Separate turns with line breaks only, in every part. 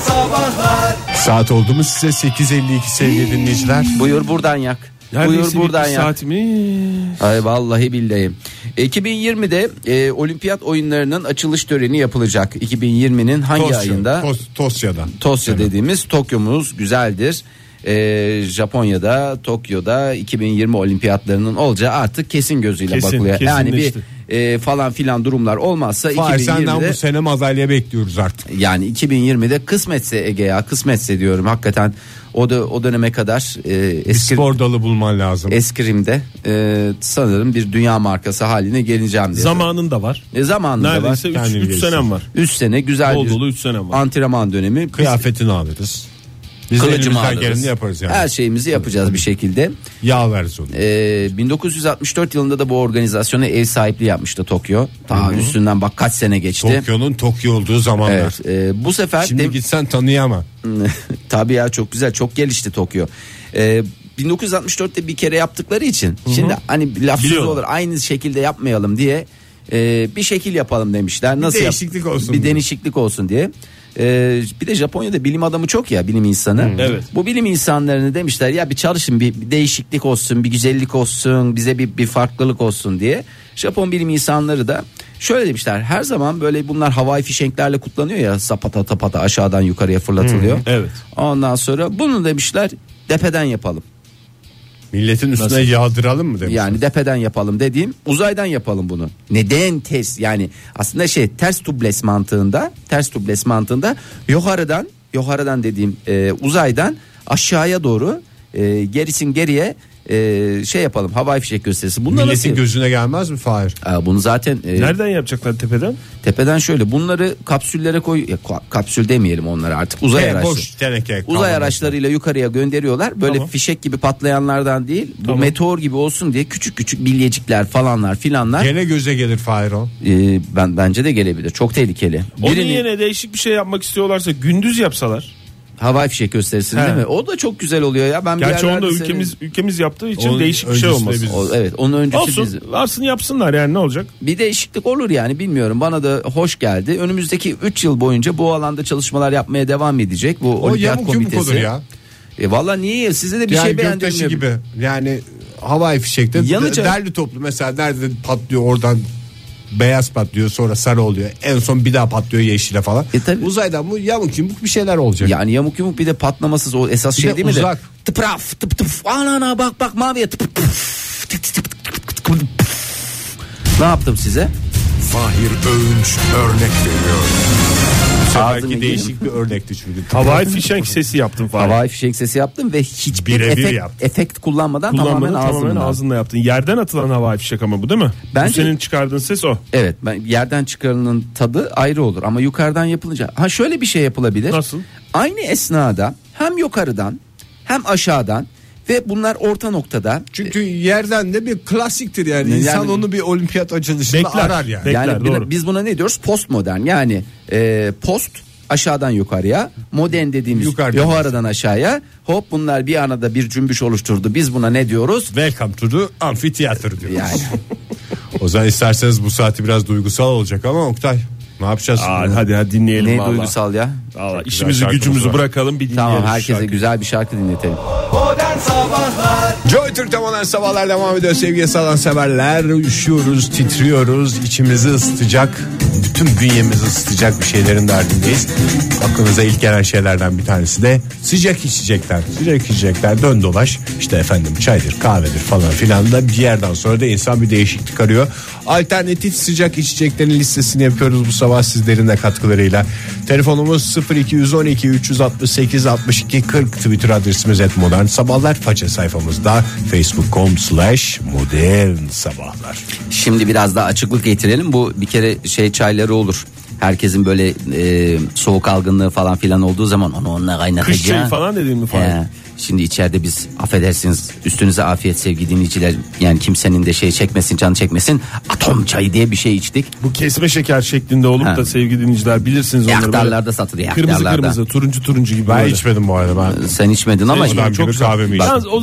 Sabahlar
Saat oldu mu size 8.52 sevgili dinleyiciler.
Buyur buradan yak. Buyur
Neredeyse
buradan
bir
yak.
saatimi.
Ay vallahi billahi. 2020'de e, olimpiyat oyunlarının açılış töreni yapılacak. 2020'nin hangi
Tosya,
ayında?
Tos- Tosya'dan.
Tosya dediğimiz Tokyo'muz güzeldir. Ee, Japonya'da Tokyo'da 2020 olimpiyatlarının olacağı artık kesin gözüyle
Kesin,
bakılıyor. Yani bir
kesinleşti.
e, falan filan durumlar olmazsa
Fahir senden
2020'de
bu sene madalya bekliyoruz artık.
yani 2020'de kısmetse Ege ya kısmetse diyorum hakikaten o da o döneme kadar e,
Bir
eskir,
spor dalı bulman lazım.
eskrimde e, sanırım bir dünya markası haline geleceğim diye.
Zamanın da var.
e, zamanında
Neredeyse
var.
kendin
3
gelirsin.
senem var.
3 sene güzel
Dolu
bir
dolu 3 senem var.
antrenman dönemi. Biz-
Kıyafetini alırız. Biz de
Kılıcımı
elimizden
alırız.
geleni yaparız yani.
Her şey- şeyimizi yapacağız bir şekilde.
Yağ veririz onu.
Ee, 1964 yılında da bu organizasyona ev sahipliği yapmıştı Tokyo. Ta üstünden bak kaç sene geçti.
Tokyo'nun Tokyo olduğu zamanlar.
Evet, e, bu sefer
Şimdi
de-
gitsen tanıyama.
tabii ya çok güzel çok gelişti Tokyo. Ee, 1964'te bir kere yaptıkları için şimdi hani lafsız
Biliyorlar.
olur aynı şekilde yapmayalım diye e, bir şekil yapalım demişler. Nasıl yap-
değişiklik olsun
Bir
diye.
değişiklik olsun diye. Ee, bir de Japonya'da bilim adamı çok ya bilim insanı.
Evet.
Bu bilim insanlarını demişler ya bir çalışın bir, bir değişiklik olsun, bir güzellik olsun, bize bir bir farklılık olsun diye. Japon bilim insanları da şöyle demişler. Her zaman böyle bunlar havai fişenklerle kutlanıyor ya sapata tapata aşağıdan yukarıya fırlatılıyor.
evet.
Ondan sonra bunu demişler depeden yapalım.
Milletin üstüne yağdıralım mı demiş.
Yani depeden yapalım dediğim uzaydan yapalım bunu. Neden ters yani aslında şey ters tubles mantığında ters tubles mantığında yukarıdan yukarıdan dediğim e, uzaydan aşağıya doğru e, gerisin geriye e, şey yapalım havai fişek gösterisi. Bunlar
Milletin
nasıl?
gözüne gelmez mi Fahir?
Aa, bunu zaten e,
Nereden yapacaklar tepeden?
tepeden şöyle bunları kapsüllere koy ya, ka- kapsül demeyelim onları artık uzay
He,
araçları.
boş teneke.
Uzay
kavanoz.
araçlarıyla yukarıya gönderiyorlar. Böyle
Tamam.
fişek gibi patlayanlardan değil,
Tamam.
bu meteor gibi olsun diye küçük küçük bilyecikler falanlar filanlar.
Gene göze gelir Fahir o.
Ee, ben bence de gelebilir. Çok tehlikeli.
Onun
Birini
yerine değişik bir şey yapmak istiyorlarsa gündüz yapsalar.
havai fişek gösterisini
He.
değil mi? O da çok güzel oluyor ya. Ben bir
Gerçi onu da
yerlerde
ülkemiz ülkemiz yaptığı için
Onun
değişik bir şey
öncüsü de
olmaz.
biz.
senin- O- evet, onun öncesi
Olsun,
bizim.
varsın yapsınlar yani ne olacak?
Bir değişiklik olur yani bilmiyorum. Bana da hoş geldi. Önümüzdeki 3 yıl boyunca bu alanda çalışmalar yapmaya devam edecek bu
O
Olimpiyat
yamuk yumuk
Komitesi.
olur ya.
E valla niye ya? size de bir
yani
şey
göktaşı
beğendirmiyor.
gibi. Yani havai fişekte
Yanacak.
derli toplu mesela nerede patlıyor oradan beyaz patlıyor sonra sarı oluyor. En son bir daha patlıyor yeşile falan.
E tabii.
Uzaydan bu yamuk yumuk bir şeyler olacak.
Yani yamuk yumuk bir de patlamasız o esas
Bir
şey
de
değil mi? de?
uzak.
Tıpraf tıp tıp ana ana bak bak maviye tıp tıp tıp tıp tıp tıp tıp. Ne yaptım size?
Fahir Öğünç örnek veriyor.
Ağzını
Belki değişik bir örnekti çünkü.
Havai fişenk sesi yaptın falan.
Havai fişek sesi yaptım ve hiçbir
Birebir
efekt,
yaptın.
efekt kullanmadan
Kullanmadın
tamamen
tamamen,
ağzımdan.
ağzınla yaptın. Yerden atılan havai fişek ama bu değil mi?
Bence-
Bu senin çıkardığın ses o.
Evet ben yerden çıkarının tadı ayrı olur ama yukarıdan yapılınca ha şöyle bir şey yapılabilir.
Nasıl?
Aynı esnada hem yukarıdan hem aşağıdan ve bunlar orta noktada
Çünkü yerden de bir klasiktir yani.
Yani-
İnsan onu bir olimpiyat açılışında
Bekler.
arar yani.
Bekler,
yani buna-
doğru.
biz buna ne diyoruz? Postmodern. Yani e, post aşağıdan yukarıya, modern dediğimiz
Yukarıdan.
yukarıdan aşağıya. Hop bunlar bir arada bir cümbüş oluşturdu. Biz buna ne diyoruz?
Welcome to the amphitheater diyoruz.
Yani
O zaman isterseniz bu saati biraz duygusal olacak ama Oktay ne yapacağız?
Aa, hadi hadi dinleyelim
ne
vallahi.
duygusal ya?
Vallahi
güzel
işimizi
şarkımız
gücümüzü
var.
bırakalım bir dinleyelim.
Tamam
şu
herkese
şarkıyı.
güzel bir şarkı dinletelim.
Modern Sabahlar
Joy Türk'te modern sabahlar devam ediyor sevgili salan severler. Üşüyoruz, titriyoruz, içimizi ısıtacak, bütün bünyemizi ısıtacak bir şeylerin derdindeyiz. Aklınıza ilk gelen şeylerden bir tanesi de sıcak içecekler. Sıcak içecekler dön dolaş işte efendim çaydır kahvedir falan filan da bir yerden sonra da insan bir değişiklik arıyor. Alternatif sıcak içeceklerin listesini yapıyoruz bu sabah sizlerin de katkılarıyla. Telefonumuz 0212 368 62 40 Twitter adresimiz et modern sabahlar faça sayfamızda facebook.com slash modern sabahlar.
Şimdi biraz daha açıklık getirelim. Bu bir kere şey çayları olur. Herkesin böyle e, soğuk algınlığı falan filan olduğu zaman onu onunla kaynatacağım.
Kış çayı falan dediğin mi falan?
He. Şimdi içeride biz affedersiniz üstünüze afiyet sevgili dinleyiciler. Yani kimsenin de şey çekmesin canı çekmesin. Atom çayı diye bir şey içtik.
Bu kesme şeker şeklinde olup
Ha.
da sevgili dinleyiciler bilirsiniz onları. böyle
Yaktarlarda satılıyor.
Kırmızı
yaktarlarda.
kırmızı turuncu turuncu gibi.
Ben
böyle.
içmedim bu arada ben.
Sen içmedin ama
içmedin. Ben
çok
bir kahvemi içtim.
Yalnız o,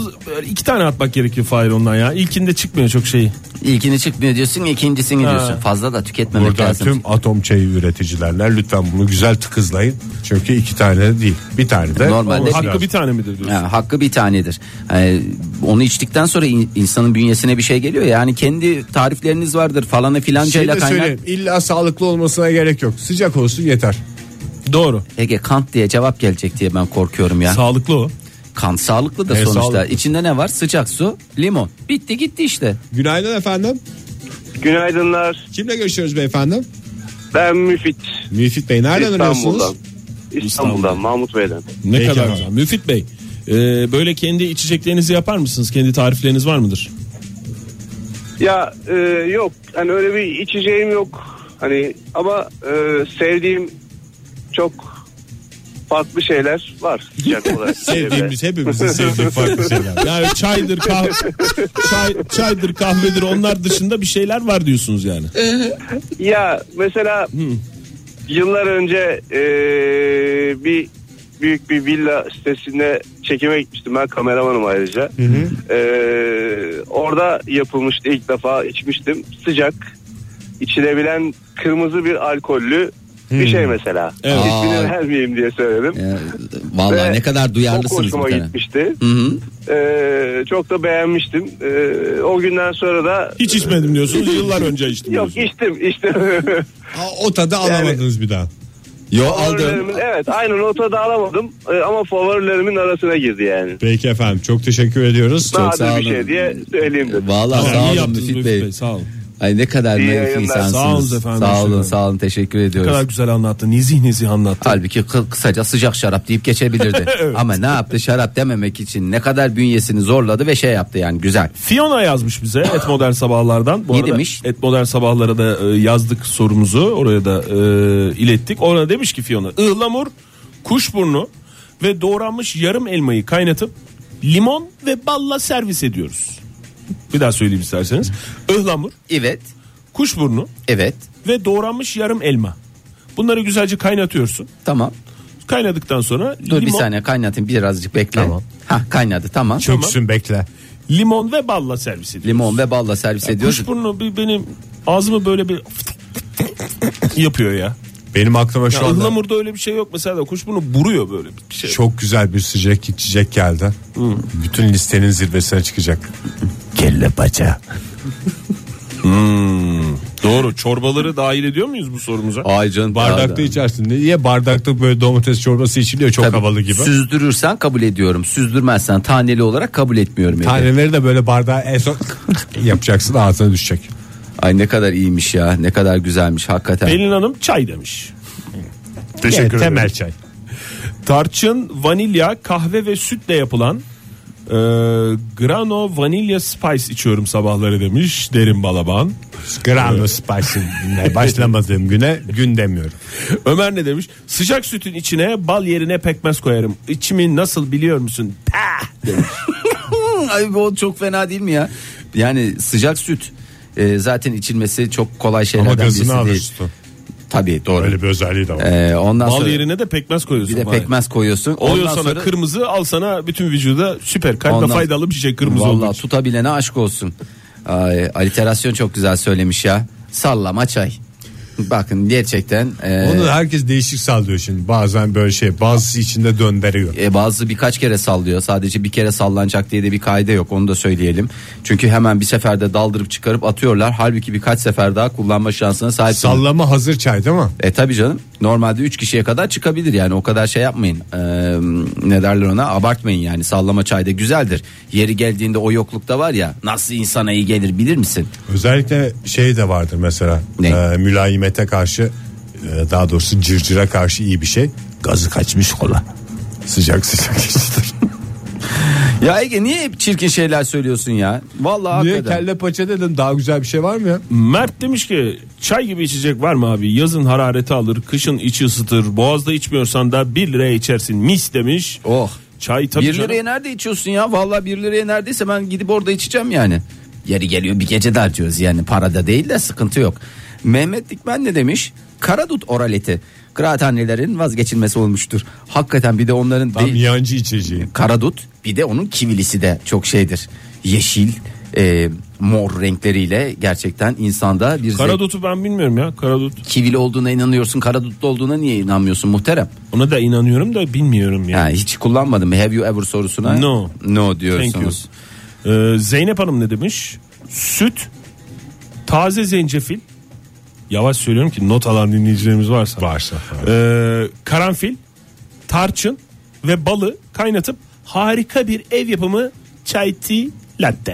iki tane atmak gerekiyor Fahir ondan ya. İlkinde çıkmıyor çok şey. şeyi.
ilkini çıkmıyor diyorsun ikincisini diyorsun. Fazla da tüketmemek
Buradan
lazım.
tüm atom çayı üreticilerler lütfen bunu güzel tıkızlayın. Çünkü iki tane de değil. Bir tane de
Normalde
olması
Hakkı
lazım.
bir tane midir diyorsun?
Ha, hakkı bir tanedir. Yani onu içtikten sonra in- insanın bünyesine bir şey geliyor. Yani kendi tarifleriniz vardır falanı
Şey
filancayla
de
kaynar.
söyleyeyim illa sağlıklı olmasına gerek yok. Sıcak olsun yeter.
Doğru.
Ege Kant diye cevap gelecek diye ben korkuyorum ya.
Sağlıklı o.
Kant sağlıklı da
E,
sonuçta.
sağlıklı.
İçinde ne var? Sıcak su, limon. Bitti gitti işte.
Günaydın efendim.
Günaydınlar.
Kimle görüşüyoruz beyefendi?
Ben Müfit.
Müfit Bey nereden
İstanbul'dan.
arıyorsunuz?
İstanbul'dan, İstanbul'dan, Mahmut Bey'den.
Ne
Peki
kadar
abi.
güzel. Müfit Bey e, böyle kendi içeceklerinizi yapar mısınız? Kendi tarifleriniz var mıdır?
Ya e, yok hani öyle bir içeceğim yok. Hani ama e, sevdiğim çok farklı şeyler var sıcak olarak.
Sevdiğimiz hepimizin sevdiği farklı şey şeyler.
Yani çaydır kahve, çay, çaydır kahvedir onlar dışında bir şeyler var diyorsunuz yani.
Ya mesela yıllar önce e, bir büyük bir villa sitesinde çekime gitmiştim ben kameramanım ayrıca. E, orada yapılmıştı ilk defa içmiştim sıcak içilebilen kırmızı bir alkollü bir şey mesela.
Evet.
İsmini
Aa.
vermeyeyim diye söyledim.
Ya, E, vallahi
Ve
ne kadar
Çok
duyarlısınız.
hoşuma
bu kadar.
gitmişti.
Hı hı.
E, çok da beğenmiştim. E, o günden sonra da
Hiç içmedim diyorsunuz yıllar önce içtim
yok
diyorsunuz.
içtim içtim.
Aa, o tadı alamadınız bir daha.
Yo aldım.
Favorilerimin evet aynı nota da alamadım e, ama favorilerimin arasına girdi yani.
Peki efendim çok teşekkür ediyoruz.
Nadir
sağ
bir
olun.
şey diye söyleyeyim dedim.
Vallahi
Tamam, iyi
sağ olun
yaptınız
Müfit Bey.
Sağ olun.
Ay ne kadar
İyi
naif
yayınlar.
insansınız.
Sağ olun efendim,
Sağ
hoşçakalın.
olun, sağ olun. Teşekkür
Ne
ediyoruz.
kadar güzel anlattı. Nezih nezih anlattı.
Halbuki kı- kısaca sıcak şarap deyip geçebilirdi. Ama ne yaptı şarap dememek için ne kadar bünyesini zorladı ve şey yaptı yani güzel.
Fiona yazmış bize Et Modern Sabahlar'dan. Bu
Ne
arada
demiş?
Et Modern Sabahlar'a da e, yazdık sorumuzu. Oraya da e, ilettik. Orada demiş ki Fiona ıhlamur, kuşburnu ve doğranmış yarım elmayı kaynatıp limon ve balla servis ediyoruz. Bir daha söyleyeyim isterseniz. Ihlamur,
Evet.
kuşburnu
Evet.
ve doğranmış yarım elma. Bunları güzelce kaynatıyorsun.
Tamam.
Kaynadıktan sonra
Dur bir
limon,
saniye kaynatayım birazcık bekle.
Tamam.
Ha kaynadı tamam.
Çöksün bekle.
limon ve balla servis ediyoruz.
Limon ve balla servis ediyoruz.
Kuşburnu bir benim ağzımı böyle bir yapıyor ya.
Benim aklıma şu
Ya
anda
ıhlamurda öyle bir şey yok mesela da kuşburnu buruyor böyle bir şey.
çok güzel bir sıcak içecek geldi. Bütün listenin zirvesine çıkacak.
Kelle paça.
Doğru çorbaları dahil ediyor muyuz bu sorumuza?
Ay canım.
Bardakta içersin. Niye bardakta böyle domates çorbası içiliyor çok
Tabii.
havalı gibi.
Süzdürürsen kabul ediyorum. Süzdürmezsen taneli olarak kabul etmiyorum. Ege.
Taneleri de böyle bardağa en son yapacaksın ağzına düşecek.
Ay ne kadar iyiymiş ya. Ne kadar güzelmiş hakikaten.
Pelin Hanım çay demiş.
Teşekkür
ederim.
Temel çay.
Tarçın, vanilya, kahve ve sütle yapılan e, Grano Vanilya Spice içiyorum sabahları demiş Derin Balaban.
Grano Spice'in başlamadığım güne gün demiyorum.
Ömer ne demiş? Sıcak sütün içine bal yerine pekmez koyarım. İçimi nasıl biliyor musun?
Ay bu çok fena değil mi ya? Yani sıcak süt e, zaten içilmesi çok kolay
Ama
şeylerden birisi
gazını alır
değil.
sütun.
Tabii doğru.
Öyle bir özelliği de var.
E, ondan
Bal
sonra
yerine de pekmez koyuyorsun.
bir de
bari.
pekmez koyuyorsun.
Oluyor
ondan
sana
sonra
kırmızı al sana bütün vücuda süper. Kalbe
Ondan-
faydalı bir şey kırmızı olduğu
Vallahi
için.
tutabilene aşk olsun. Ay, aliterasyon çok güzel söylemiş ya. Sallama çay. Bakın gerçekten e,
Onu da herkes değişik sallıyor şimdi. Bazen böyle şey bazısı içinde döndürüyor.
E, bazı birkaç kere sallıyor. Sadece bir kere sallanacak diye de bir kaide yok. Onu da söyleyelim. Çünkü hemen bir seferde daldırıp çıkarıp atıyorlar. Halbuki birkaç sefer daha kullanma şansına sahipsiniz.
Sallama hazır çay değil mi?
E tabi canım. Normalde 3 kişiye kadar çıkabilir yani. O kadar şey yapmayın. Ee, ne derler ona? Abartmayın yani. Sallama çayda güzeldir. Yeri geldiğinde o yoklukta var ya. Nasıl insana iyi gelir bilir misin?
Özellikle şey de vardır mesela.
Ne?
e, mülayimete karşı e, daha doğrusu cırcıra karşı iyi bir şey. Gazı kaçmış kola. Sıcak sıcak içilir.
Ya Ege niye hep çirkin şeyler söylüyorsun ya? Vallahi
Niye
hakikaten.
kelle paça dedin daha güzel bir şey var mı ya?
Mert demiş ki çay gibi içecek var mı abi? Yazın harareti alır, kışın içi ısıtır. Boğazda içmiyorsan da 1 liraya içersin mis demiş.
Oh.
Çay tabii
1
canım.
liraya nerede içiyorsun ya? Vallahi 1 liraya neredeyse ben gidip orada içeceğim yani. Yeri geliyor bir gece de harcıyoruz yani parada değil de sıkıntı yok. Mehmet Dikmen ne demiş? Karadut oraleti. Kıraathanelerin vazgeçilmesi olmuştur. Hakikaten bir de onların
Tam
değil.
yancı içeceği.
Karadut bir de onun kivilisi de çok şeydir. Yeşil, e, mor renkleriyle gerçekten insanda bir zevk-
Karadut'u ben bilmiyorum ya. Karadut.
kivili olduğuna inanıyorsun. Karadutlu olduğuna niye inanmıyorsun muhterem?
Ona da inanıyorum da bilmiyorum yani.
Yani hiç kullanmadım. Have you ever sorusuna
No.
no
Thank you.
diyorsunuz.
Ee, Zeynep Hanım ne demiş? Süt, taze zencefil. Yavaş söylüyorum ki not alan dinleyicilerimiz varsa.
Varsa.
Ee, karanfil, tarçın ve balı kaynatıp harika bir ev yapımı çay tea latte.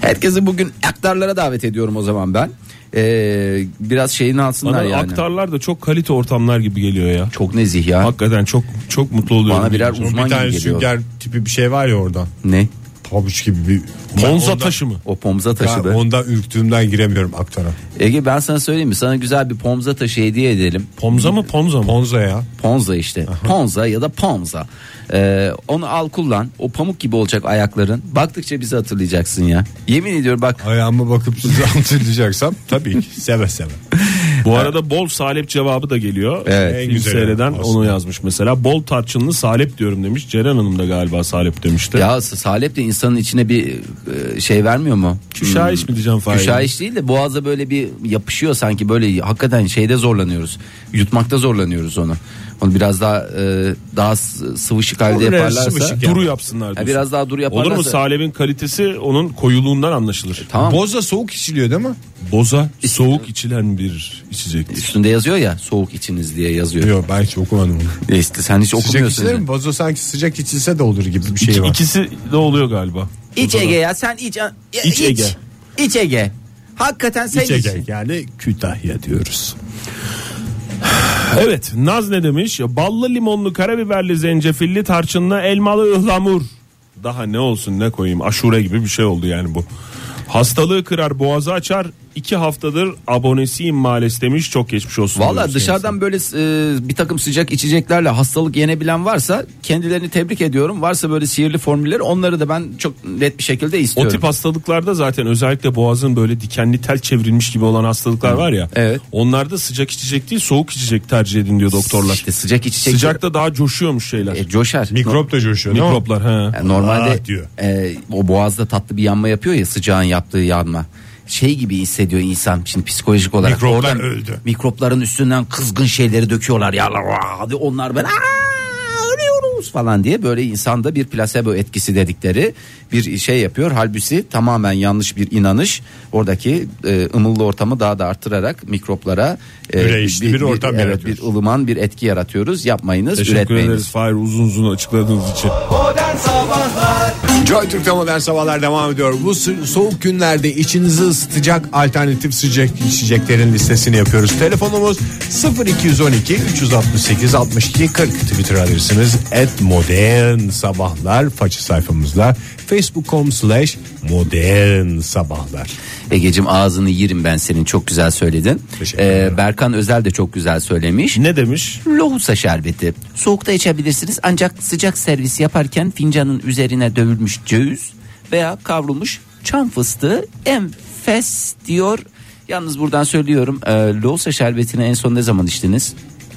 Herkesi bugün aktarlara davet ediyorum o zaman ben. Ee, biraz şeyini alsınlar
Bana
yani.
aktarlar da çok kalite ortamlar gibi geliyor ya.
Çok nezih ya.
Hakikaten çok çok mutlu oluyorum.
Bana birer
Bir
uzman
bir tane
gibi geliyor.
sünger tipi bir şey var ya orada.
Ne?
Pabuç gibi bir.
Monza
Ondan-
taşı mı?
O pomza taşı
Ben
da.
ondan ürktüğümden giremiyorum aktara.
Ege ben sana söyleyeyim mi? Sana güzel bir pomza taşı hediye edelim.
Pomza mı Ponza mı?
Monza ya.
Ponza işte. Ponza ya da pomza. Ee, onu al kullan. O pamuk gibi olacak ayakların. Baktıkça bizi hatırlayacaksın ya. Yemin ediyorum bak.
Ayağıma bakıp sizi hatırlayacaksam tabii ki seve seve.
Bu arada bol salep cevabı da geliyor.
Evet.
Film
En güzeli
seyreden
aslında.
onu yazmış mesela. Bol tarçınlı salep diyorum demiş. Ceren Hanım da galiba salep demişti.
Ya salep de insanın içine bir e, şey vermiyor mu?
Küşayiş
hmm.
mi diyeceğim Fahir?
Küşayiş değil de boğaza böyle bir yapışıyor sanki böyle hakikaten şeyde zorlanıyoruz. Yutmakta zorlanıyoruz onu. Onu biraz daha e, daha s- sıvışık halde
Olur,
yaparlarsa.
sıvışık
Duru yapsınlar diyorsun.
Ya biraz daha duru
Olur mu
yaparlarsa-
salebin kalitesi onun koyuluğundan anlaşılır.
Tamam.
Boza soğuk içiliyor değil mi?
Boza soğuk içilen bir içecektir.
Üstünde yazıyor ya soğuk içiniz diye yazıyor.
Yok ben hiç okumadım onu.
Neyse, sen hiç
Sıcak
okumuyorsun.
içilir mi? Boza sanki sıcak içilse de olur gibi bir şey var.
İkisi de oluyor galiba.
İç Ege ya sen iç. ya
İç Ege.
İç Ege. Hakikaten sen iç.
İçecek yani Kütahya diyoruz.
Evet Naz ne demiş? Ballı limonlu karabiberli zencefilli tarçınlı elmalı ıhlamur. Daha ne olsun ne koyayım aşure gibi bir şey oldu yani bu. Hastalığı kırar boğazı açar iki haftadır abonesiyim maalesef demiş çok geçmiş olsun.
Valla
demiş
dışarıdan böyle e, bir takım sıcak içeceklerle hastalık yenebilen varsa kendilerini tebrik ediyorum. Varsa böyle sihirli formülleri onları da ben çok net bir şekilde
O
istiyorum.
tip hastalıklarda zaten özellikle boğazın böyle dikenli tel çevrilmiş gibi olan hastalıklar var ya.
Evet.
Onlarda sıcak içecek değil soğuk içecek tercih edin diyor doktorlar.
İşte sıcak içecek.
Sıcakta daha coşuyormuş şeyler.
E, coşar.
Mikrop da coşuyor. değil mi?
Mikroplar he.
Yani normalde
Ah diyor.
e, o boğazda tatlı bir yanma yapıyor ya sıcağın yaptığı yanma. Şey gibi hissediyor insan şimdi psikolojik olarak.
Mikroplar öldü.
Mikropların üstünden kızgın şeyleri döküyorlar ya. Hadi onlar ben "Aa, ölüyoruz falan diye böyle insanda bir plasebo etkisi dedikleri bir şey yapıyor. Halbuki tamamen yanlış bir inanış. Oradaki e, ımıllı ortamı daha da arttırarak mikroplara e,
Üreyişli bir ortam
evet, bir
yaratıyoruz.
ılıman bir etki yaratıyoruz. Yapmayınız,
Teşekkür
üretmeyiniz.
ederiz Fahir uzun uzun açıkladığınız için.
Modern Sabahlar
Joy Türk'te modern sabahlar devam ediyor. Bu sı- soğuk günlerde içinizi ısıtacak alternatif sıcak içeceklerin listesini yapıyoruz. Telefonumuz 0212 368 62 40 Twitter adresimiz @modernSabahlar. modern sabahlar façı sayfamızda facebook.com slash modern sabahlar.
Egeciğim ağzını yerim ben senin çok güzel söyledin.
Teşekkür
Ee,
ederim.
Berkan Özel de çok güzel söylemiş.
Ne demiş?
Lohusa şerbeti. Soğukta içebilirsiniz ancak sıcak servis yaparken fincanın üzerine dövülmüş ceviz veya kavrulmuş çam fıstığı enfes diyor. Yalnız buradan söylüyorum e, lohusa şerbetini en son ne zaman içtiniz?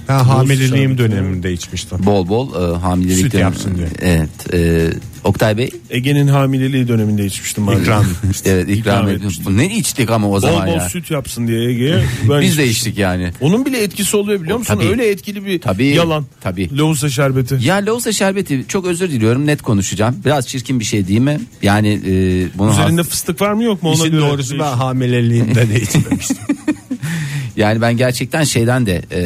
Ben hamileliğim döneminde içmiştim.
Bol bol e, hamilelikten.
Süt yapsın diye.
Evet. e, Oktay Bey.
Ege'nin hamileliği döneminde içmiştim ben.
İkram.
Evet ikram,
İkram
ediyorum.
etmiştim.
Ne içtik ama o
Bol
zaman
bol
ya.
süt yapsın diye Ege'ye. Ben
Biz de
içmiştim.
içtik yani.
Onun bile etkisi oluyor biliyor
O,
musun?
tabii.
Öyle etkili bir
Tabii,
yalan.
tabii.
Lohusa şerbeti.
Ya lohusa şerbeti çok özür diliyorum net konuşacağım. Biraz çirkin bir şey değil mi? Yani e, bunu
Üzerinde fıstık var mı yok mu ona
İşin
göre.
doğrusu ben hamileliğimde de içmemiştim.
yani ben gerçekten şeyden de e,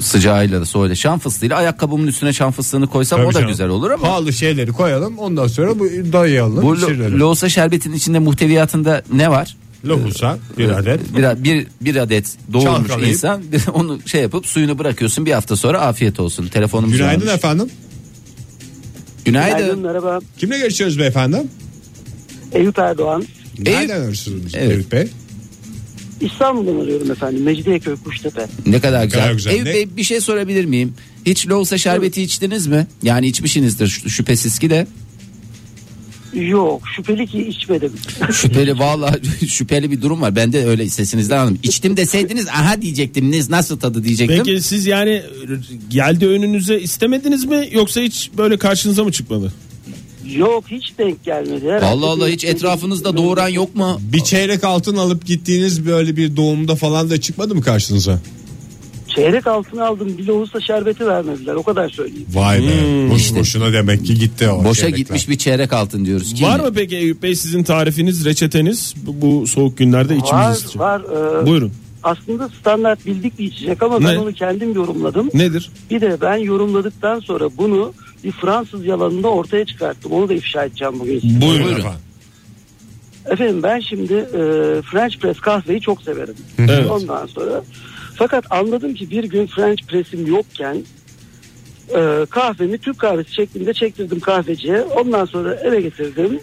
sıcağıyla da soğuyla şan fıstığıyla ayakkabımın üstüne şan fıstığını koysam
Tabii
o da
canım.
güzel olur ama
Pahalı şeyleri koyalım ondan sonra bu dayayalım.
bu lo-
pişirelim.
lohusa şerbetinin içinde muhteviyatında ne var?
Lohusa bir adet.
Bir, bir, bir adet doğurmuş
Çalkalayıp.
insan bir- onu şey yapıp suyunu bırakıyorsun bir hafta sonra afiyet olsun. Telefonumuz
Günaydın
varmış.
efendim.
Günaydın.
Günaydın merhaba.
Kimle görüşüyoruz beyefendi?
Eyüp Erdoğan.
Nereden arıyorsunuz Eyüp Bey?
İstanbul'dan arıyorum efendim. Mecidiyeköy Kuştepe.
Ne kadar güzel.
kadar güzel.
Ev
Ne-
Bey, bir şey sorabilir miyim? Hiç Loğusa şerbeti içtiniz mi? Yani içmişsinizdir şü- şüphesiz ki de.
Yok şüpheli ki içmedim.
Şüpheli vallahi şüpheli bir durum var. Ben de öyle sesinizden anladım. İçtim deseydiniz aha diyecektim. "Niz- Nasıl tadı diyecektim.
Peki siz yani geldi önünüze istemediniz mi yoksa hiç böyle karşınıza mı çıkmadı?
Yok hiç denk gelmedi. Herhalde
Allah Allah
bir-
hiç etrafınızda doğuran yok mu?
Bir çeyrek altın alıp gittiğiniz böyle bir doğumda falan da çıkmadı mı karşınıza?
Çeyrek altına aldım. Bir lohusa şerbeti vermediler. O kadar söyleyeyim.
Vay be. Boş
Hmm. İşte.
boşuna demek ki gitti o.
Boşa
çeyrekler.
gitmiş bir çeyrek altın diyoruz. Kim
Var
ne?
mı peki Eyüp Bey sizin tarifiniz, reçeteniz bu, bu soğuk günlerde içimiz
var
ısıtacak?
var. e,
Buyurun.
Aslında standart bildik bir içecek ama ben
Ne?
onu kendim yorumladım.
Nedir?
Bir de ben yorumladıktan sonra bunu bir Fransız yalanında ortaya çıkarttım. Onu da ifşa edeceğim bugün. size.
Buyurun,
Buyurun.
efendim.
Efendim ben şimdi e, French press kahveyi çok severim.
Evet.
Ondan sonra fakat anladım ki bir gün French press'im yokken e, kahvemi Türk kahvesi şeklinde çektirdim kahveciye. Ondan sonra eve getirdim.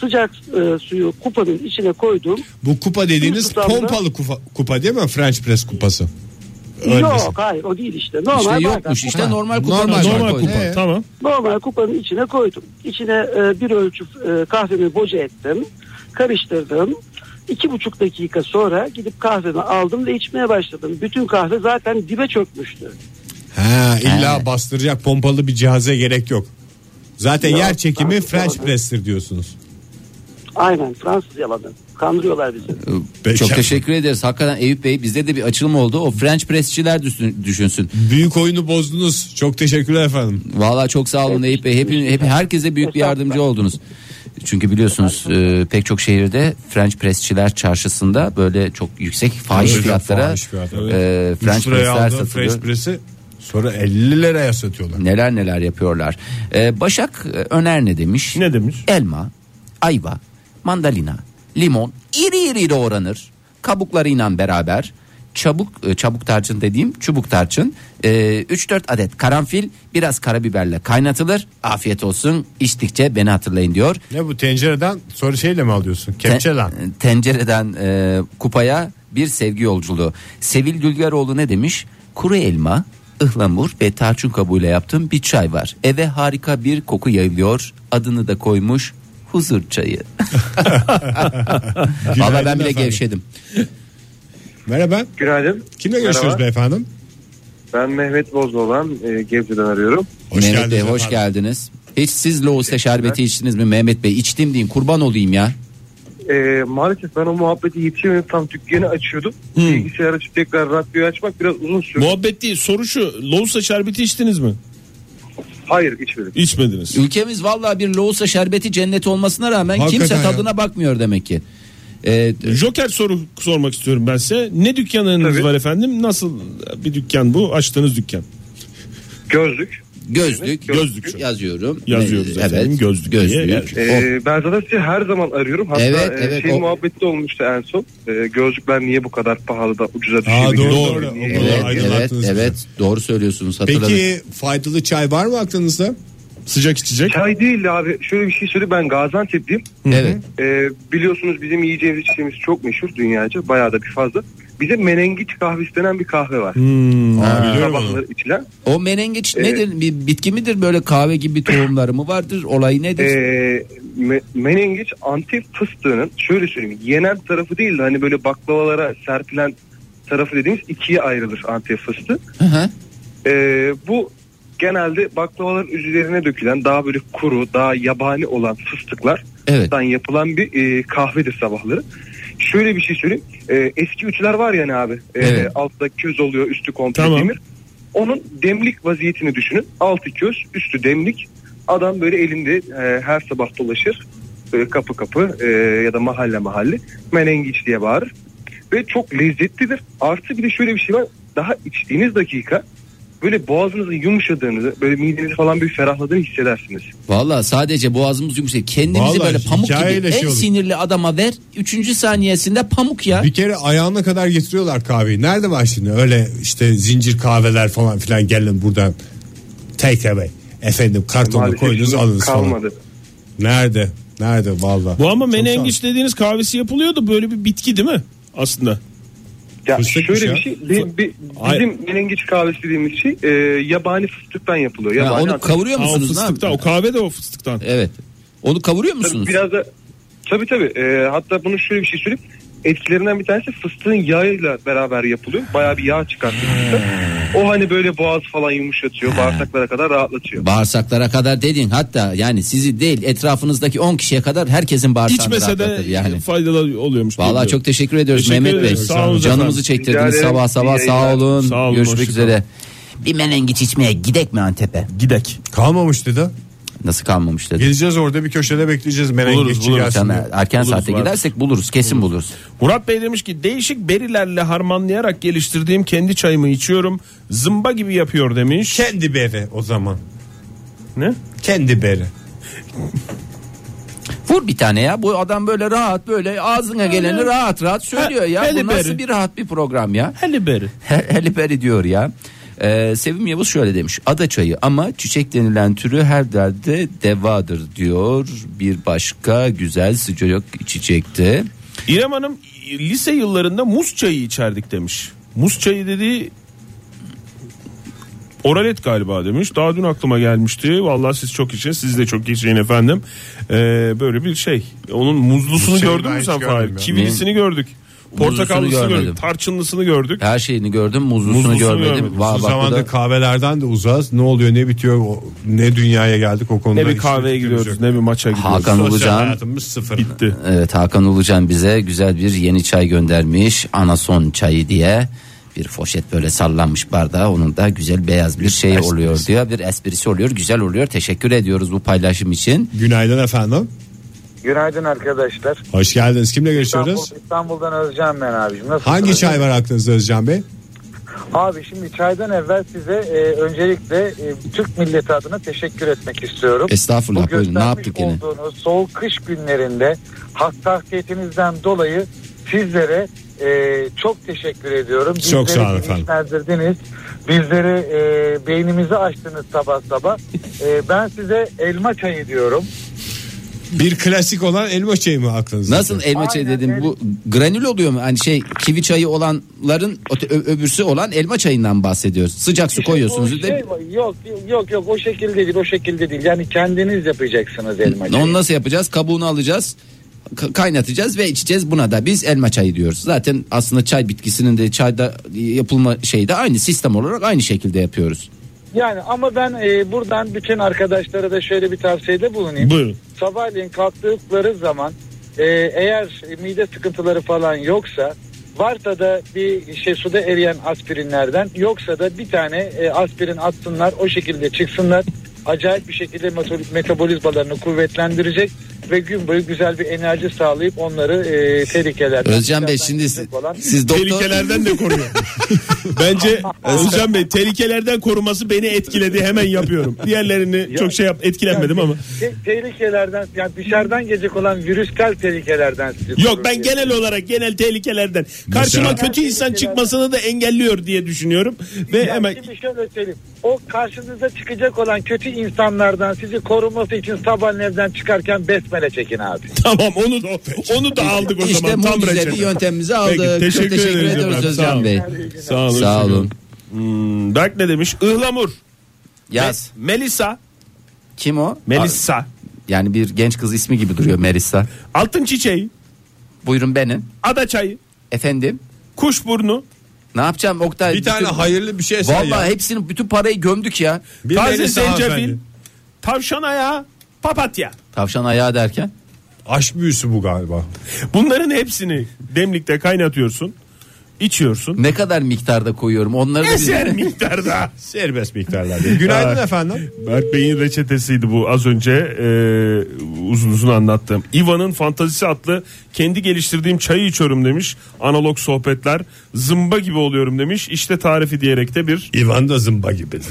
Sıcak e, suyu kupanın içine koydum.
Bu kupa dediğiniz
Tutamda.
pompalı kupa, kupa değil mi? French press kupası. Öyle
Yok
misin?
hayır o değil işte. Normal
İşte
bardak.
yokmuş işte
Ha,
normal kupa.
normal
Normal
koydum.
kupa
Ee?
tamam.
Normal kupanın içine koydum. İçine e, bir ölçü e, kahvemi boca ettim. Karıştırdım. İki buçuk dakika sonra gidip kahvemi aldım ve içmeye başladım. Bütün kahve zaten dibe çökmüştü.
Ha, illa
Ha.
bastıracak pompalı bir cihaza gerek yok. Zaten
Yok,
yer çekimi
ben
French
kupaladım.
press'tir diyorsunuz.
Aynen Fransız yalanı. Kandırıyorlar bizi.
Peki.
Çok teşekkür ederiz. Hakikaten Eyüp Bey bizde de bir açılım oldu. O French pressçiler düşün- düşünsün.
Büyük oyunu bozdunuz. Çok teşekkürler efendim.
Vallahi çok sağ olun Eyüp Bey. Hepin, hep, herkese büyük bir yardımcı oldunuz. Çünkü biliyorsunuz e, pek çok şehirde French pressçiler çarşısında böyle çok yüksek fahiş
Hocam,
fiyatlara
fahiş fiyat.
e,
Evet.
French
Üç liraya
pressler
aldığın
satılıyor.
French press'i sonra 50 liraya satıyorlar.
Neler neler yapıyorlar. E, Başak e, Öner ne demiş?
Ne demiş?
Elma, ayva, mandalina, limon iri iri doğranır. Kabuklarıyla beraber çabuk e, çabuk tarçın dediğim çubuk tarçın e, 3-4 adet karanfil biraz karabiberle kaynatılır. Afiyet olsun içtikçe beni hatırlayın diyor.
Ne bu tencereden sonra şeyle mi alıyorsun?
Te-
Kepçe lan.
Tencereden e, kupaya bir sevgi yolculuğu. Sevil Dülgeroğlu ne demiş? Kuru elma, ıhlamur ve tarçın kabuğuyla yaptığım bir çay var. Eve harika bir koku yayılıyor. Adını da koymuş huzur çayı. Valla ben
Günaydın
bile
efendim.
gevşedim.
Merhaba.
Günaydın.
Kimle görüşüyoruz
Merhaba.
beyefendim?
Ben Mehmet Bozdoğan e, Gebze'den arıyorum.
Mehmet
geldiniz
Bey hoş
efendim.
geldiniz. Hiç siz Loğusa şerbeti içtiniz mi Mehmet Bey? İçtim deyin kurban olayım ya.
E, maalesef ben o muhabbeti yetişemedim. Tam dükkanı açıyordum. Bilgisayar açıp tekrar radyoyu açmak biraz uzun sürdü.
Muhabbet değil soru şu Loğusa şerbeti içtiniz mi?
Hayır içmedim.
İçmediniz.
Ülkemiz vallahi bir Loğusa şerbeti cenneti olmasına rağmen
Hakikaten
kimse
ya.
tadına bakmıyor demek ki. Ee,
Joker soru sormak istiyorum ben size. Ne dükkanınız
Tabii.
var efendim? Nasıl bir dükkan bu? Açtığınız dükkan.
Gözlük.
Gözlük,
gözlük.
gözlük yazıyorum.
Yazıyoruz
Ee,
efendim, gözlük diye
Gözlük.
yazıyoruz.
O-
E, ben zaten sizi her zaman arıyorum. Hatta
Oh. Evet,
e,
evet,
şey
o-
muhabbeti de olmuştu en son. E, gözlükler niye bu kadar pahalı da ucuza
Aa,
düşebiliyor?
doğru, doğru.
Niye?
O kadar
Evet, evet,
aydınlattınız bizi.
evet. Doğru söylüyorsunuz. Hatırladım.
Peki faydalı çay var mı aklınızda?
Sıcak içecek.
Çay değil abi. Şöyle bir şey söyleyeyim. Ben Gaziantep'liyim.
evet.
Ee, biliyorsunuz bizim yiyeceğimiz içeceğimiz çok meşhur dünyaca. Bayağı da bir fazla. Bize menengiç kahvesi denen bir kahve var.
Hmm.
Aa, biliyorum onu.
Sabahları içilen.
O menengeç
Evet.
nedir? Bir bitki midir böyle kahve gibi tohumları mı vardır? Olayı nedir?
Ee, me- menengiç Antep fıstığının şöyle söyleyeyim. Yenen tarafı değil de hani böyle baklavalara serpilen tarafı dediğimiz ikiye ayrılır Antep fıstığı.
Hı hı.
Ee, bu genelde baklavaların üzerine dökülen daha böyle kuru, daha yabani olan fıstıklar
evet.
dan yapılan bir e, kahvedir sabahları. Şöyle bir şey söyleyeyim. E, eski ütüler var yani abi. E,
Evet.
Altta köz oluyor, üstü komple
Tamam.
demir. Onun demlik vaziyetini düşünün. Altı köz, üstü demlik. Adam böyle elinde e, her sabah dolaşır. Böyle kapı kapı e, ya da mahalle mahalle menengiç diye bağırır. Ve çok lezzetlidir. Artı bir de şöyle bir şey var. Daha içtiğiniz dakika böyle boğazınızın yumuşadığını, böyle midenizi falan bir ferahladığını hissedersiniz.
Valla sadece boğazımız yumuşak. Kendimizi
Vallahi
böyle pamuk gibi
hikayeyle şey
en
olur.
sinirli adama ver. Üçüncü saniyesinde pamuk ya.
Bir kere ayağına kadar getiriyorlar kahveyi. Nerede var şimdi öyle işte zincir kahveler falan filan gelin buradan take away. Efendim kartonu
Maalesef
koyunuz
şimdi
alınız falan.
kalmadı.
Nerede? Nerede valla.
Bu ama
Çok sağ ol.
menengiç dediğiniz kahvesi yapılıyordu. Böyle bir bitki değil mi? Aslında.
Ya
Fıstıkmış
şöyle
ya.
bir şey bi- bi-
Hayır.
bizim menengiç kahvesi dediğimiz şey e, yabani fıstıktan yapılıyor.
Ya
Yabani
onu
artık-
kavuruyor
Ha, o
musunuz? E, Ne yap-
fıstıktan o kahve de o fıstıktan.
Evet. Onu kavuruyor
Tabii
musunuz?
biraz da tabii tabii. E, hatta bunu şöyle bir şey söyleyeyim. Etkilerinden bir tanesi fıstığın yağıyla beraber yapılıyor. Bayağı bir yağ çıkartıyor. fıstık. o hani böyle boğaz falan yumuşatıyor. Bağırsaklara kadar rahatlatıyor.
Bağırsaklara kadar dedin hatta yani sizi değil etrafınızdaki 10 kişiye kadar herkesin bağırsağını
İçmese de
rahatlatır yani.
faydalı oluyormuş.
Vallahi
Bilmiyorum.
çok teşekkür ediyoruz
Teşekkür
Mehmet Bey.
ederiz. Sağ olun
Canımızı
efendim.
çektirdiniz
Rica ederim.
sabah sabah
İyi
sağ
yayınlar.
olun.
Sağ olun,
Görüşmek
hoşça
üzere. Bir menengiç içmeye gidek mi Antep'e?
gidek.
Kalmamış dedi.
Nasıl kalmamış dedi.
Geleceğiz orada bir köşede bekleyeceğiz.
Buluruz,
Menengiççi
buluruz.
gelsin.
Sen
diye.
erken
Buluruz,
saatte
vardır.
gidersek buluruz kesin buluruz.
Murat Bey demiş ki değişik berilerle harmanlayarak geliştirdiğim kendi çayımı içiyorum. Zımba gibi yapıyor demiş.
Kendi beri o zaman.
ne?
Kendi beri.
Vur bir tane ya bu adam böyle rahat böyle ağzına geleni rahat rahat söylüyor ya. Bu
hele
nasıl
beri.
bir rahat bir program ya.
Heli beri.
He- Heliperi diyor ya. Ee, Sevim Yavuz şöyle demiş. Ada çayı ama çiçek denilen türü her derde devadır diyor. Bir başka güzel sıcak içecekti.
İrem Hanım lise yıllarında muz çayı içerdik demiş. Muz çayı dediği oralet galiba demiş. Daha dün aklıma gelmişti. Vallahi siz çok için siz de çok için efendim. Ee, böyle bir şey. Onun muzlusunu
Muz çayı
gördün
ben
mü
hiç
sen
görmedim
Fahir?
ya.
Kivilisini gördük. Portakallısını
görmedim.
gördük. Tarçınlısını gördük.
Her şeyini gördüm muzlusunu,
Muzlusunu
görmedim.
görmedim.
Vah,
Bu
bak bu
zamanda
da-
kahvelerden de uzağız. Ne oluyor ne bitiyor o- ne dünyaya geldik o konuda.
Ne bir
hiç
kahveye
fikrimiz
gidiyoruz
yok.
ne bir maça gidiyoruz.
Hakan
Sosyal
Ulucan.
hayatımız sıfır.
Bitti.
Evet Hakan Ulucan bize güzel bir yeni çay göndermiş. Anason çayı diye bir foşet böyle sallanmış bardağa onun da güzel beyaz bir şey oluyor diyor. Bir esprisi oluyor güzel oluyor. Teşekkür ediyoruz bu paylaşım için.
Günaydın efendim.
Günaydın arkadaşlar.
Hoş geldiniz. Kimle görüşüyoruz?
İstanbul, İstanbul'dan Özcan ben abicim. Nasılsınız?
Hangi çay var aklınızda Özcan Bey?
Abi şimdi çaydan evvel size e, öncelikle e, Türk milleti adına teşekkür etmek istiyorum.
E,
Estağfurullah,
Bu
buyurun. Ne
göstermiş
yaptık yine?
olduğunuz soğuk kış günlerinde hassasiyetinizden dolayı sizlere e, çok teşekkür ediyorum.
Çok
Bizleri
sağ olun efendim.
bilinçlendirdiniz. Bizleri e, beynimizi açtınız sabah sabah. E, ben size elma çayı diyorum.
Bir klasik olan elma çayı mı aklınızda?
Nasıl elma çayı
Aynen
dedim
öyle.
bu granül oluyor mu? Hani şey kivi çayı olanların öte- ö- öbürsü olan elma çayından bahsediyoruz. Sıcak su koyuyorsunuz.
O
de,
şey var, yok yok yok o şekilde değil o şekilde değil. Yani kendiniz yapacaksınız elma çayı.
onu nasıl yapacağız? Kabuğunu alacağız. ka- kaynatacağız ve içeceğiz buna da biz elma çayı diyoruz. Zaten aslında çay bitkisinin de çayda yapılma şeyi de aynı sistem olarak aynı şekilde yapıyoruz.
Yani ama ben e, buradan bütün arkadaşlara da şöyle bir tavsiyede bulunayım.
Buyurun.
Sabahleyin kalktıkları zaman e, eğer mide sıkıntıları falan yoksa varsa da bir şey suda eriyen aspirinlerden yoksa da bir tane e, aspirin atsınlar o şekilde çıksınlar. Acayip bir şekilde meto- metabolizmalarını kuvvetlendirecek ve gün boyu güzel bir enerji sağlayıp onları e, tehlikelerden...
Özcan Bey şimdi siz,
sizlerden falan-
siz doktor
Tehlikelerden de koruyor. Bence Özcan Bey tehlikelerden koruması beni etkiledi hemen yapıyorum. Diğerlerini çok şey yap etkilenmedim ama.
Te- tehlikelerden yani dışarıdan gelecek olan virüsel tehlikelerden sizi
Yok
korur
ben
diye.
genel olarak genel tehlikelerden. Karşıma kötü insan çıkmasını da engelliyor diye düşünüyorum. Ve
Ya
hemen
Şimdi şöyle söyleyeyim. O karşınıza çıkacak olan kötü insanlardan sizi koruması için sabahın evden çıkarken besmele çekin abi.
tamam onu da, onu da aldık o
işte
zaman. Tam
mucizevi
reçete.
yöntemimizi aldık.
Peki,
Çok
teşekkür
teşekkür
ederiz
ediyoruz
efendim. Sağ
Özcan
olun.
Bey.
Sağ olun.
Sağ olun.
Hmm, Berk ne demiş? Ihlamur.
Yaz.
Me- Melisa.
Kim o?
Melisa.
Yani bir genç kız ismi gibi duruyor Melisa.
Altın çiçeği.
Buyurun benim.
Ada çayı.
Efendim?
Kuşburnu.
Ne yapacağım Oktay?
Bir tane
Bütün-
hayırlı bir şey sen
Vallahi
ya.
hepsini bütün parayı gömdük ya.
Bir
Taze
Melisa
zencefil.
hanımefendi.
Tavşan ayağı. Papatya.
Tavşan ayağı derken.
Aşk büyüsü bu galiba.
Bunların hepsini demlikte kaynatıyorsun. içiyorsun.
Ne kadar miktarda koyuyorum onları da biz-
Eser miktarda.
Serbest miktarlarda. Günaydın
Ha.
efendim.
Berk Bey'in reçetesiydi bu az önce e, uzun uzun anlattığım. Iva'nın Fantazisi adlı kendi geliştirdiğim çayı içiyorum demiş. Analog sohbetler zımba gibi oluyorum demiş. İşte tarifi diyerek de bir
İvan da zımba gibidir.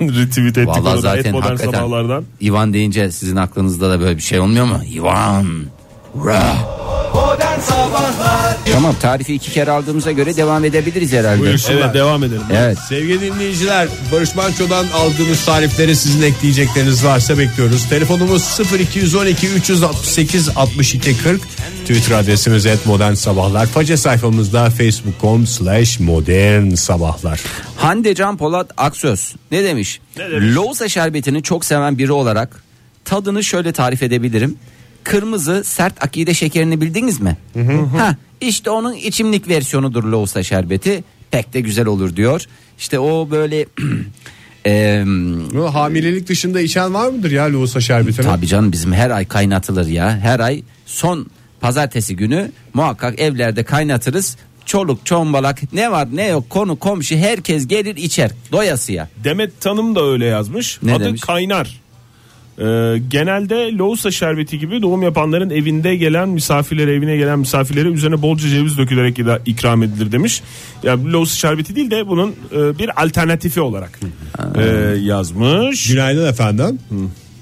retweet ettik.
Vallahi
onu da et
zaten
modern
hakikaten
sabahlardan.
İvan deyince sizin aklınızda da böyle bir şey olmuyor mu? İvan. Ra.
Modern Sabahlar
Tamam tarifi iki kere aldığımıza göre devam edebiliriz herhalde.
Evet devam edelim.
Evet.
Sevgili dinleyiciler Barış Manço'dan aldığınız tarifleri sizin ekleyecekleriniz varsa bekliyoruz. Telefonumuz 0212 368 62 40 Twitter adresimiz et modern sabahlar. Faça sayfamızda facebook.com slash modern sabahlar.
Hande Can Polat Aksöz ne demiş? Loğusa şerbetini çok seven biri olarak tadını şöyle tarif edebilirim. Kırmızı sert akide şekerini bildiniz mi? ha, işte onun içimlik versiyonudur Loğusa şerbeti. Pek de güzel olur diyor. İşte o böyle eee
Bu hamilelik dışında içen var mıdır ya lohusa şerbetini?
Tabii canım bizim her ay kaynatılır ya. Her ay son pazartesi günü muhakkak evlerde kaynatırız. Çoluk çombalak ne var ne yok konu komşu herkes gelir içer doyasıya.
Demet Tanım da öyle yazmış.
Ne
Adı
demiş?
Kaynar. Ee, genelde lohusa şerbeti gibi doğum yapanların evinde gelen misafirlere evine gelen misafirlere üzerine bolca ceviz dökülerek ila- ikram edilir demiş. Yani lohusa şerbeti değil de bunun e, bir alternatifi olarak e, yazmış.
Günaydın efendim.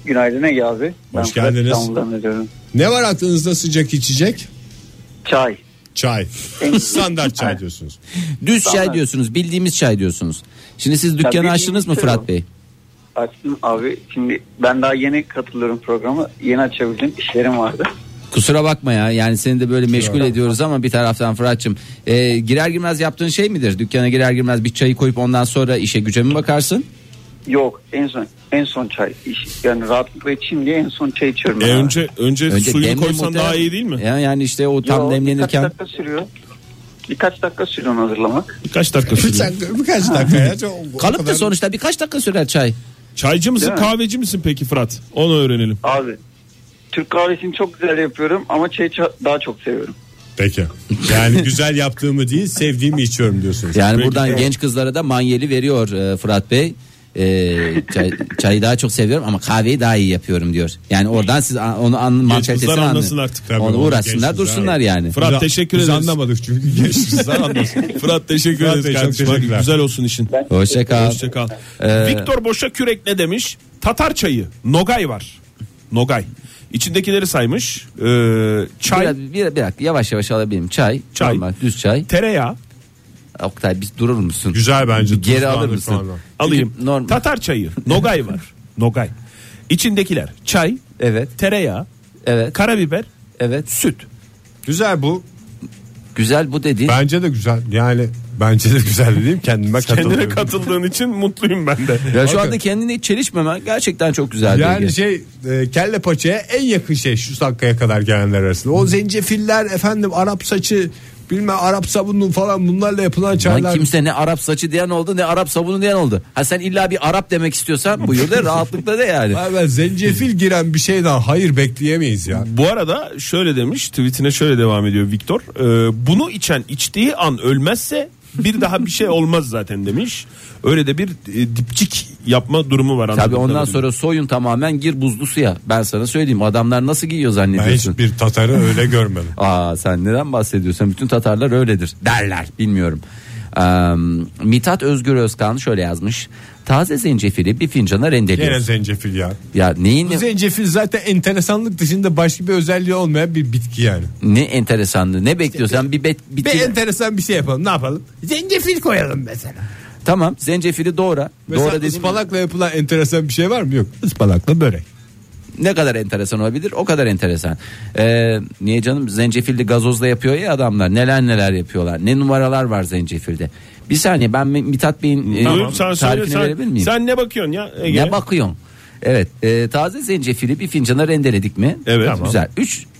Günaydın Ege abi.
Hoş geldiniz.
İstanbul'dan arıyorum.
Ne var aklınızda sıcak içecek?
Çay.
Çay. Standart çay diyorsunuz.
Düz çay diyorsunuz bildiğimiz çay diyorsunuz. Şimdi siz dükkanı
bildiğimiz
açtınız mı
şey
Fırat
o.
Bey?
Açtım abi. Şimdi ben daha yeni katılıyorum programa. Yeni açabildim. İşlerim vardı.
Kusura bakma ya yani seni de böyle meşgul ediyoruz ama bir taraftan Fırat'cığım e, girer girmez yaptığın şey midir? Dükkana girer girmez bir çayı koyup ondan sonra işe güce mi bakarsın?
Yok en son en son çay. İş- Yani rahatlıkla içeyim diye en son çay içiyorum.
E,
ben abi.
önce önce, suyunu
demle
koysan
muhtemelen-
daha iyi değil mi?
Ya, yani işte o tam
Yo,
demlenirken
Birkaç dakika sürüyor. Birkaç dakika sürüyor onu hazırlamak.
Birkaç dakika sürüyor.
Birkaç dakika ya. Çok- o
kalıp da
kadar-
sonuçta birkaç dakika sürer çay.
Çaycı mısın
Değil mi?
kahveci misin peki Fırat? Onu öğrenelim.
Abi Türk kahvesini çok güzel yapıyorum ama çayı ça- daha çok seviyorum.
Peki. Yani güzel yaptığımı değil sevdiğimi içiyorum diyorsunuz.
Yani
Peki.
buradan genç kızlara da manyeli veriyor e, Fırat Bey. E, çay, çayı daha çok seviyorum ama kahveyi daha iyi yapıyorum diyor. Yani oradan siz a- onu an, mantalitesini
kızlar
anlayın.
anlasın artık tabii.
Onu
Onu
uğraşsınlar
genç
dursunlar
kızlar.
yani.
Fırat
Biz-
teşekkür
biz
ederiz.
anlamadık çünkü gençmişler anlasın.
Fırat teşekkür
Fırat Bey,
ederiz
çok
kardeşim. Hadi
teşekkürler.
Güzel olsun işin. Ee,
Hoşça kal.
Hoşça kal. Viktor Boşa Kürek ne demiş? Tatar çayı. Nogay var. Nogay. İçindekileri saymış. Ee, çay,
Biraz- Bir, bir dakika yavaş yavaş alabilirim. Çay,
Çay.
normal, düz çay.
tereyağı
Oktay bir durur musun?
Güzel bence.
Bir geri
tuzlandı
alır
şu
mısın?
anda.
alayım.
Çünkü normal.
Tatar çayı. Nogay var. Nogay. İçindekiler çay,
Evet,
tereyağı,
evet,
karabiber,
evet.
süt.
Güzel bu.
Güzel bu dediğin.
Bence de güzel. Yani bence de güzel dediğim kendime
Kendine
katılıyorum.
katıldığın için mutluyum ben de.
Ya şu
Bakın.
anda kendini hiç çelişmemen gerçekten çok güzel.
Yani
bilgi.
şey e, kelle paçaya en yakın şey şu dakikaya kadar gelenler arasında. O zencefiller efendim Arap saçı bilmem Arap sabunu falan bunlarla yapılan
Lan
çaylar.
kimse ne Arap saçı diyen oldu ne Arap sabunu diyen oldu. Ha sen illa bir Arap demek istiyorsan buyur da rahatlıkla de yani.
Vay be, zencefil giren bir şeyden hayır bekleyemeyiz ya.
Bu arada şöyle demiş tweetine şöyle devam ediyor Viktor. Ee, bunu içen içtiği an ölmezse bir daha bir şey olmaz zaten demiş. Öyle de bir e, dipçik yapma durumu var.
Tabii
anladığım
ondan
kadarıyla.
sonra soyun tamamen gir buzlu suya. Ben sana söyleyeyim adamlar nasıl giyiyor
Ben
zannediyorsun.
hiçbir Tatar'ı öyle görmedim.
Aa sen neden bahsediyorsun? Bütün Tatarlar öyledir derler bilmiyorum. Ee, Mithat Özgür Özkan şöyle yazmış. Taze zencefili bir fincana
Gene
rendeliyoruz.
zencefil ya.
Ya neyin
Bu zencefil zaten enteresanlık dışında başka bir özelliği olmayan bir bitki yani.
ne enteresanlığı ne bekliyorsan bir bet,
Bir
bitir-
enteresan bir şey yapalım. Ne yapalım? Zencefil koyalım mesela.
Tamam zencefili doğra.
Mesela
doğra dediğim
ıspanakla yapılan enteresan bir şey var mı? Yok. Ispanakla börek.
ne kadar enteresan olabilir o kadar enteresan. Ee, niye canım zencefilli gazozla yapıyor ya adamlar neler neler yapıyorlar ne numaralar var zencefilde. Bir saniye ben Mi- Mithat Bey'in e,
Buyur, sen söyle,
tarifini verebilir
sen,
miyim?
sen ne bakıyorsun ya? Ege?
Ne bakıyorsun? Evet e, taze zencefili bir fincana rendeledik mi?
Evet.
Tamam. Güzel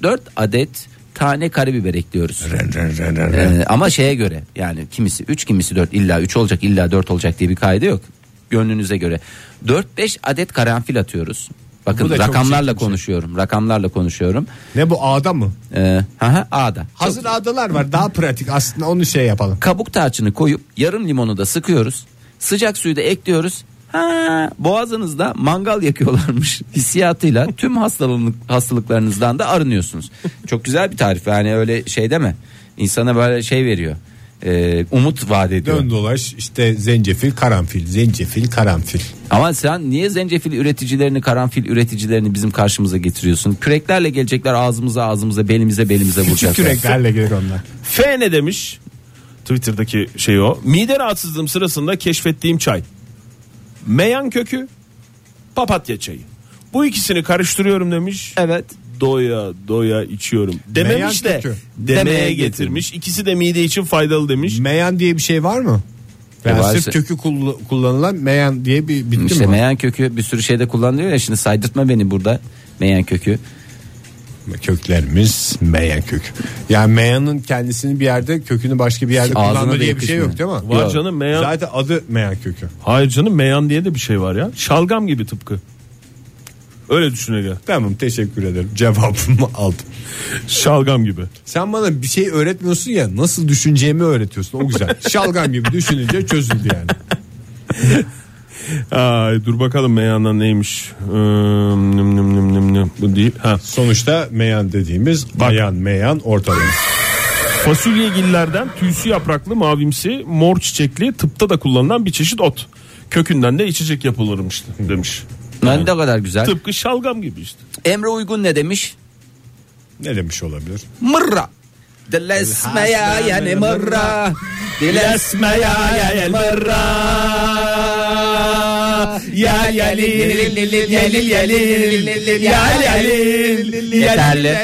3-4 adet tane karabiber ekliyoruz.
Evet.
Ee, ama şeye göre yani kimisi 3 kimisi 4 illa 3 olacak illa 4 olacak diye bir kaide yok. Gönlünüze göre. 4-5 adet karanfil atıyoruz. Bakın
Bu da çok
rakamlarla
çirkin bir şey.
konuşuyorum. Rakamlarla konuşuyorum.
Ne bu ağda mı?
Ee, haha, A'da.
Hazır ağdalar var daha pratik aslında onu şey yapalım.
Kabuk tarçını koyup yarım limonu da sıkıyoruz. Sıcak suyu da ekliyoruz. Ha, boğazınızda mangal yakıyorlarmış hissiyatıyla tüm hastalık hastalıklarınızdan da arınıyorsunuz. Çok güzel bir tarif yani öyle şey deme. İnsana böyle şey veriyor. e, umut vaat ediyor.
Dön dolaş işte zencefil karanfil zencefil karanfil.
Ama sen niye zencefil üreticilerini, karanfil üreticilerini bizim karşımıza getiriyorsun? Küreklerle gelecekler ağzımıza, ağzımıza, belimize, belimize vuracaklar.
Küçük küreklerle gelir onlar.
F ne demiş? Twitter'daki şey o. Mide rahatsızlığım sırasında keşfettiğim çay. Meyan kökü, papatya çayı. Bu ikisini karıştırıyorum demiş.
Evet.
Doya doya içiyorum. Dememiş
Meyan
de
kökü.
demeye getirmiş. İkisi de mide için faydalı demiş.
Meyan diye bir şey var mı? Yani
E, varsa-
sırf kökü kull- kullanılan meyan diye bir bitki
İşte
mi? var?
meyan kökü bir sürü şeyde kullanılıyor ya şimdi saydırtma beni burada meyan kökü.
Köklerimiz meyan kökü. Yani meyanın kendisini bir yerde kökünü başka bir yerde
Ağzına
kullanma
da
diye bir şey yok değil
yakışmıyor.
mi?
Var canım meyan.
Zaten adı meyan kökü.
Hayır canım meyan diye de bir şey var ya. Şalgam gibi tıpkı. Öyle düşüne gel.
Tamam teşekkür ederim cevabımı aldım.
Şalgam gibi.
Sen bana bir şey öğretmiyorsun ya nasıl düşüneceğimi öğretiyorsun o güzel. Şalgam gibi düşününce çözüldü yani.
Ay, dur bakalım meyandan neymiş. Ee, nüm nüm nüm nüm nüm. Bu değil. Ha.
Sonuçta meyan dediğimiz bayan meyan ortada.
Fasulyegillerden tüysü yapraklı, mavimsi, mor çiçekli, tıpta da kullanılan bir çeşit ot. Kökünden de içecek yapılırmıştı demiş.
Ben de kadar güzel.
Tıpkı şalgam gibi işte.
Emre Uygun ne demiş?
ne demiş olabilir?
Mırra. Dilesmeya yani mırra. Dilesmeya yani mırra. Ya yalil yalil yalil ya yalil. Yeterli.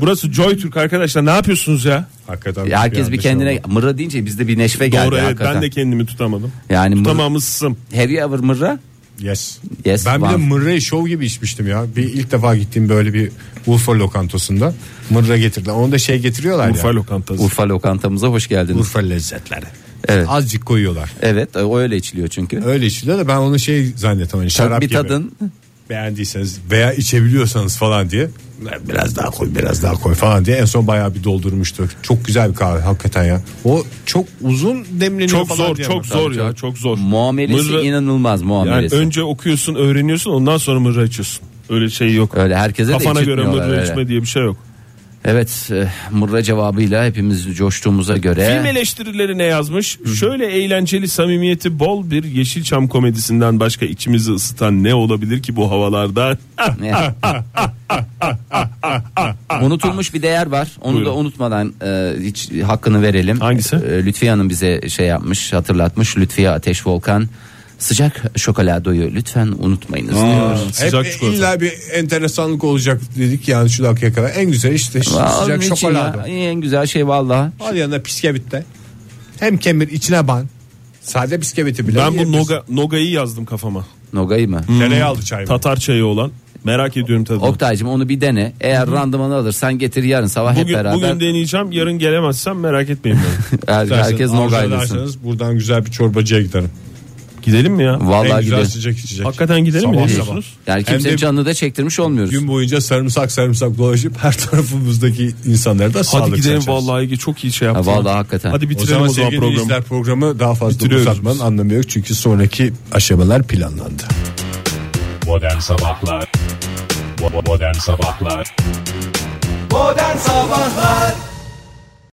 Burası Joy Türk arkadaşlar ne yapıyorsunuz ya?
Hakikaten
Ya Herkes bir
yanlış
kendine
oldu.
mırra deyince bizde bir neşve geldi
şey Doğru evet
hakikaten.
ben de kendimi tutamadım.
Yani mırra-
Tutamamışsın.
Have you ever mırra?
Yes.
Yes,
ben bir de
var.
mırrayı şov gibi içmiştim ya. Bir ilk defa gittiğim böyle bir Urfa lokantasında mırra getirdiler. Onu da şey getiriyorlar
Urfa
ya.
lokantası.
Urfa lokantamıza hoş geldiniz.
Urfa lezzetleri.
Evet.
Azıcık koyuyorlar.
Evet o öyle içiliyor çünkü.
Öyle içiliyor da ben onu şey zannettim hani şarap
bir
gibi.
tadın.
Beğendiyseniz veya içebiliyorsanız falan diye biraz daha koy biraz daha koy falan diye en son bayağı bir doldurmuştu. Çok güzel bir kahve hakikaten ya. O çok uzun demleniyor
Çok
falan
zor
diye
çok
ama.
zor ya çok zor.
Muamelesi
Mırra-
inanılmaz
yani
muamelesi.
önce okuyorsun öğreniyorsun ondan sonra mırra içiyorsun. Öyle şey yok.
Öyle herkese
Kafana
de
göre
içirtmiyorlar
mırra
öyle.
içme diye bir şey yok.
Evet e, mırra cevabıyla hepimiz coştuğumuza göre.
Film eleştirileri ne yazmış? Şöyle eğlenceli samimiyeti bol bir Yeşilçam komedisinden başka içimizi ısıtan ne olabilir ki bu havalarda?
Unutulmuş bir değer var. Onu
Buyurun.
da unutmadan e, hiç hakkını verelim.
Hangisi?
E, Lütfiye Hanım bize şey yapmış, hatırlatmış. Lütfiye Ateş Volkan sıcak şokoladoyu lütfen unutmayınız diyor.
Hep
Sıcak çikolata.
illa bir enteresanlık olacak dedik yani şu dakikaya kadar. En güzel işte şu
Aa, onun
sıcak
için
şokolada.
ya, En güzel şey valla.
Al yanına bisküvitte. Hem kemir içine ban. Sade bisküviti bile.
Ben bu
yiyebilirsin.
noga, nogayı yazdım kafama.
Nogayı mı?
Hmm,
Tereyağlı çay mı?
Tatar çayı olan. Merak ediyorum tadını.
Oktay'cım onu bir dene. Eğer randımanı alırsan getir yarın sabah hep
Bugün,
beraber.
bugün deneyeceğim. Yarın gelemezsem merak etmeyin beni.
Her-
İsterseniz
herkes
arzu
Nogay'lısın.
ederseniz Buradan güzel bir çorbacıya giderim.
Gidelim mi ya?
en
Vallahi
güzel
gidelim.
sıcak içecek.
Hakikaten gidelim mi?
Sabah
Ne
sabah.
diyorsunuz?
Yani
Hem
kimsenin
de
canını da çektirmiş olmuyoruz.
Gün boyunca sarımsak sarımsak dolaşıp her tarafımızdaki insanlara da
Hadi
sağlık
gidelim
saçarız.
vallahi ki çok iyi şey
Ha,
yaptın.
vallahi hakikaten.
Hadi
O
bitirelim
zaman
o zaman,
sevgili
programı.
izler programı daha fazla
Bitiriyoruz
uzatmanın
biz.
anlamı yok. Çünkü sonraki aşamalar planlandı.
Modern Sabahlar Bo- Modern Sabahlar
Modern Sabahlar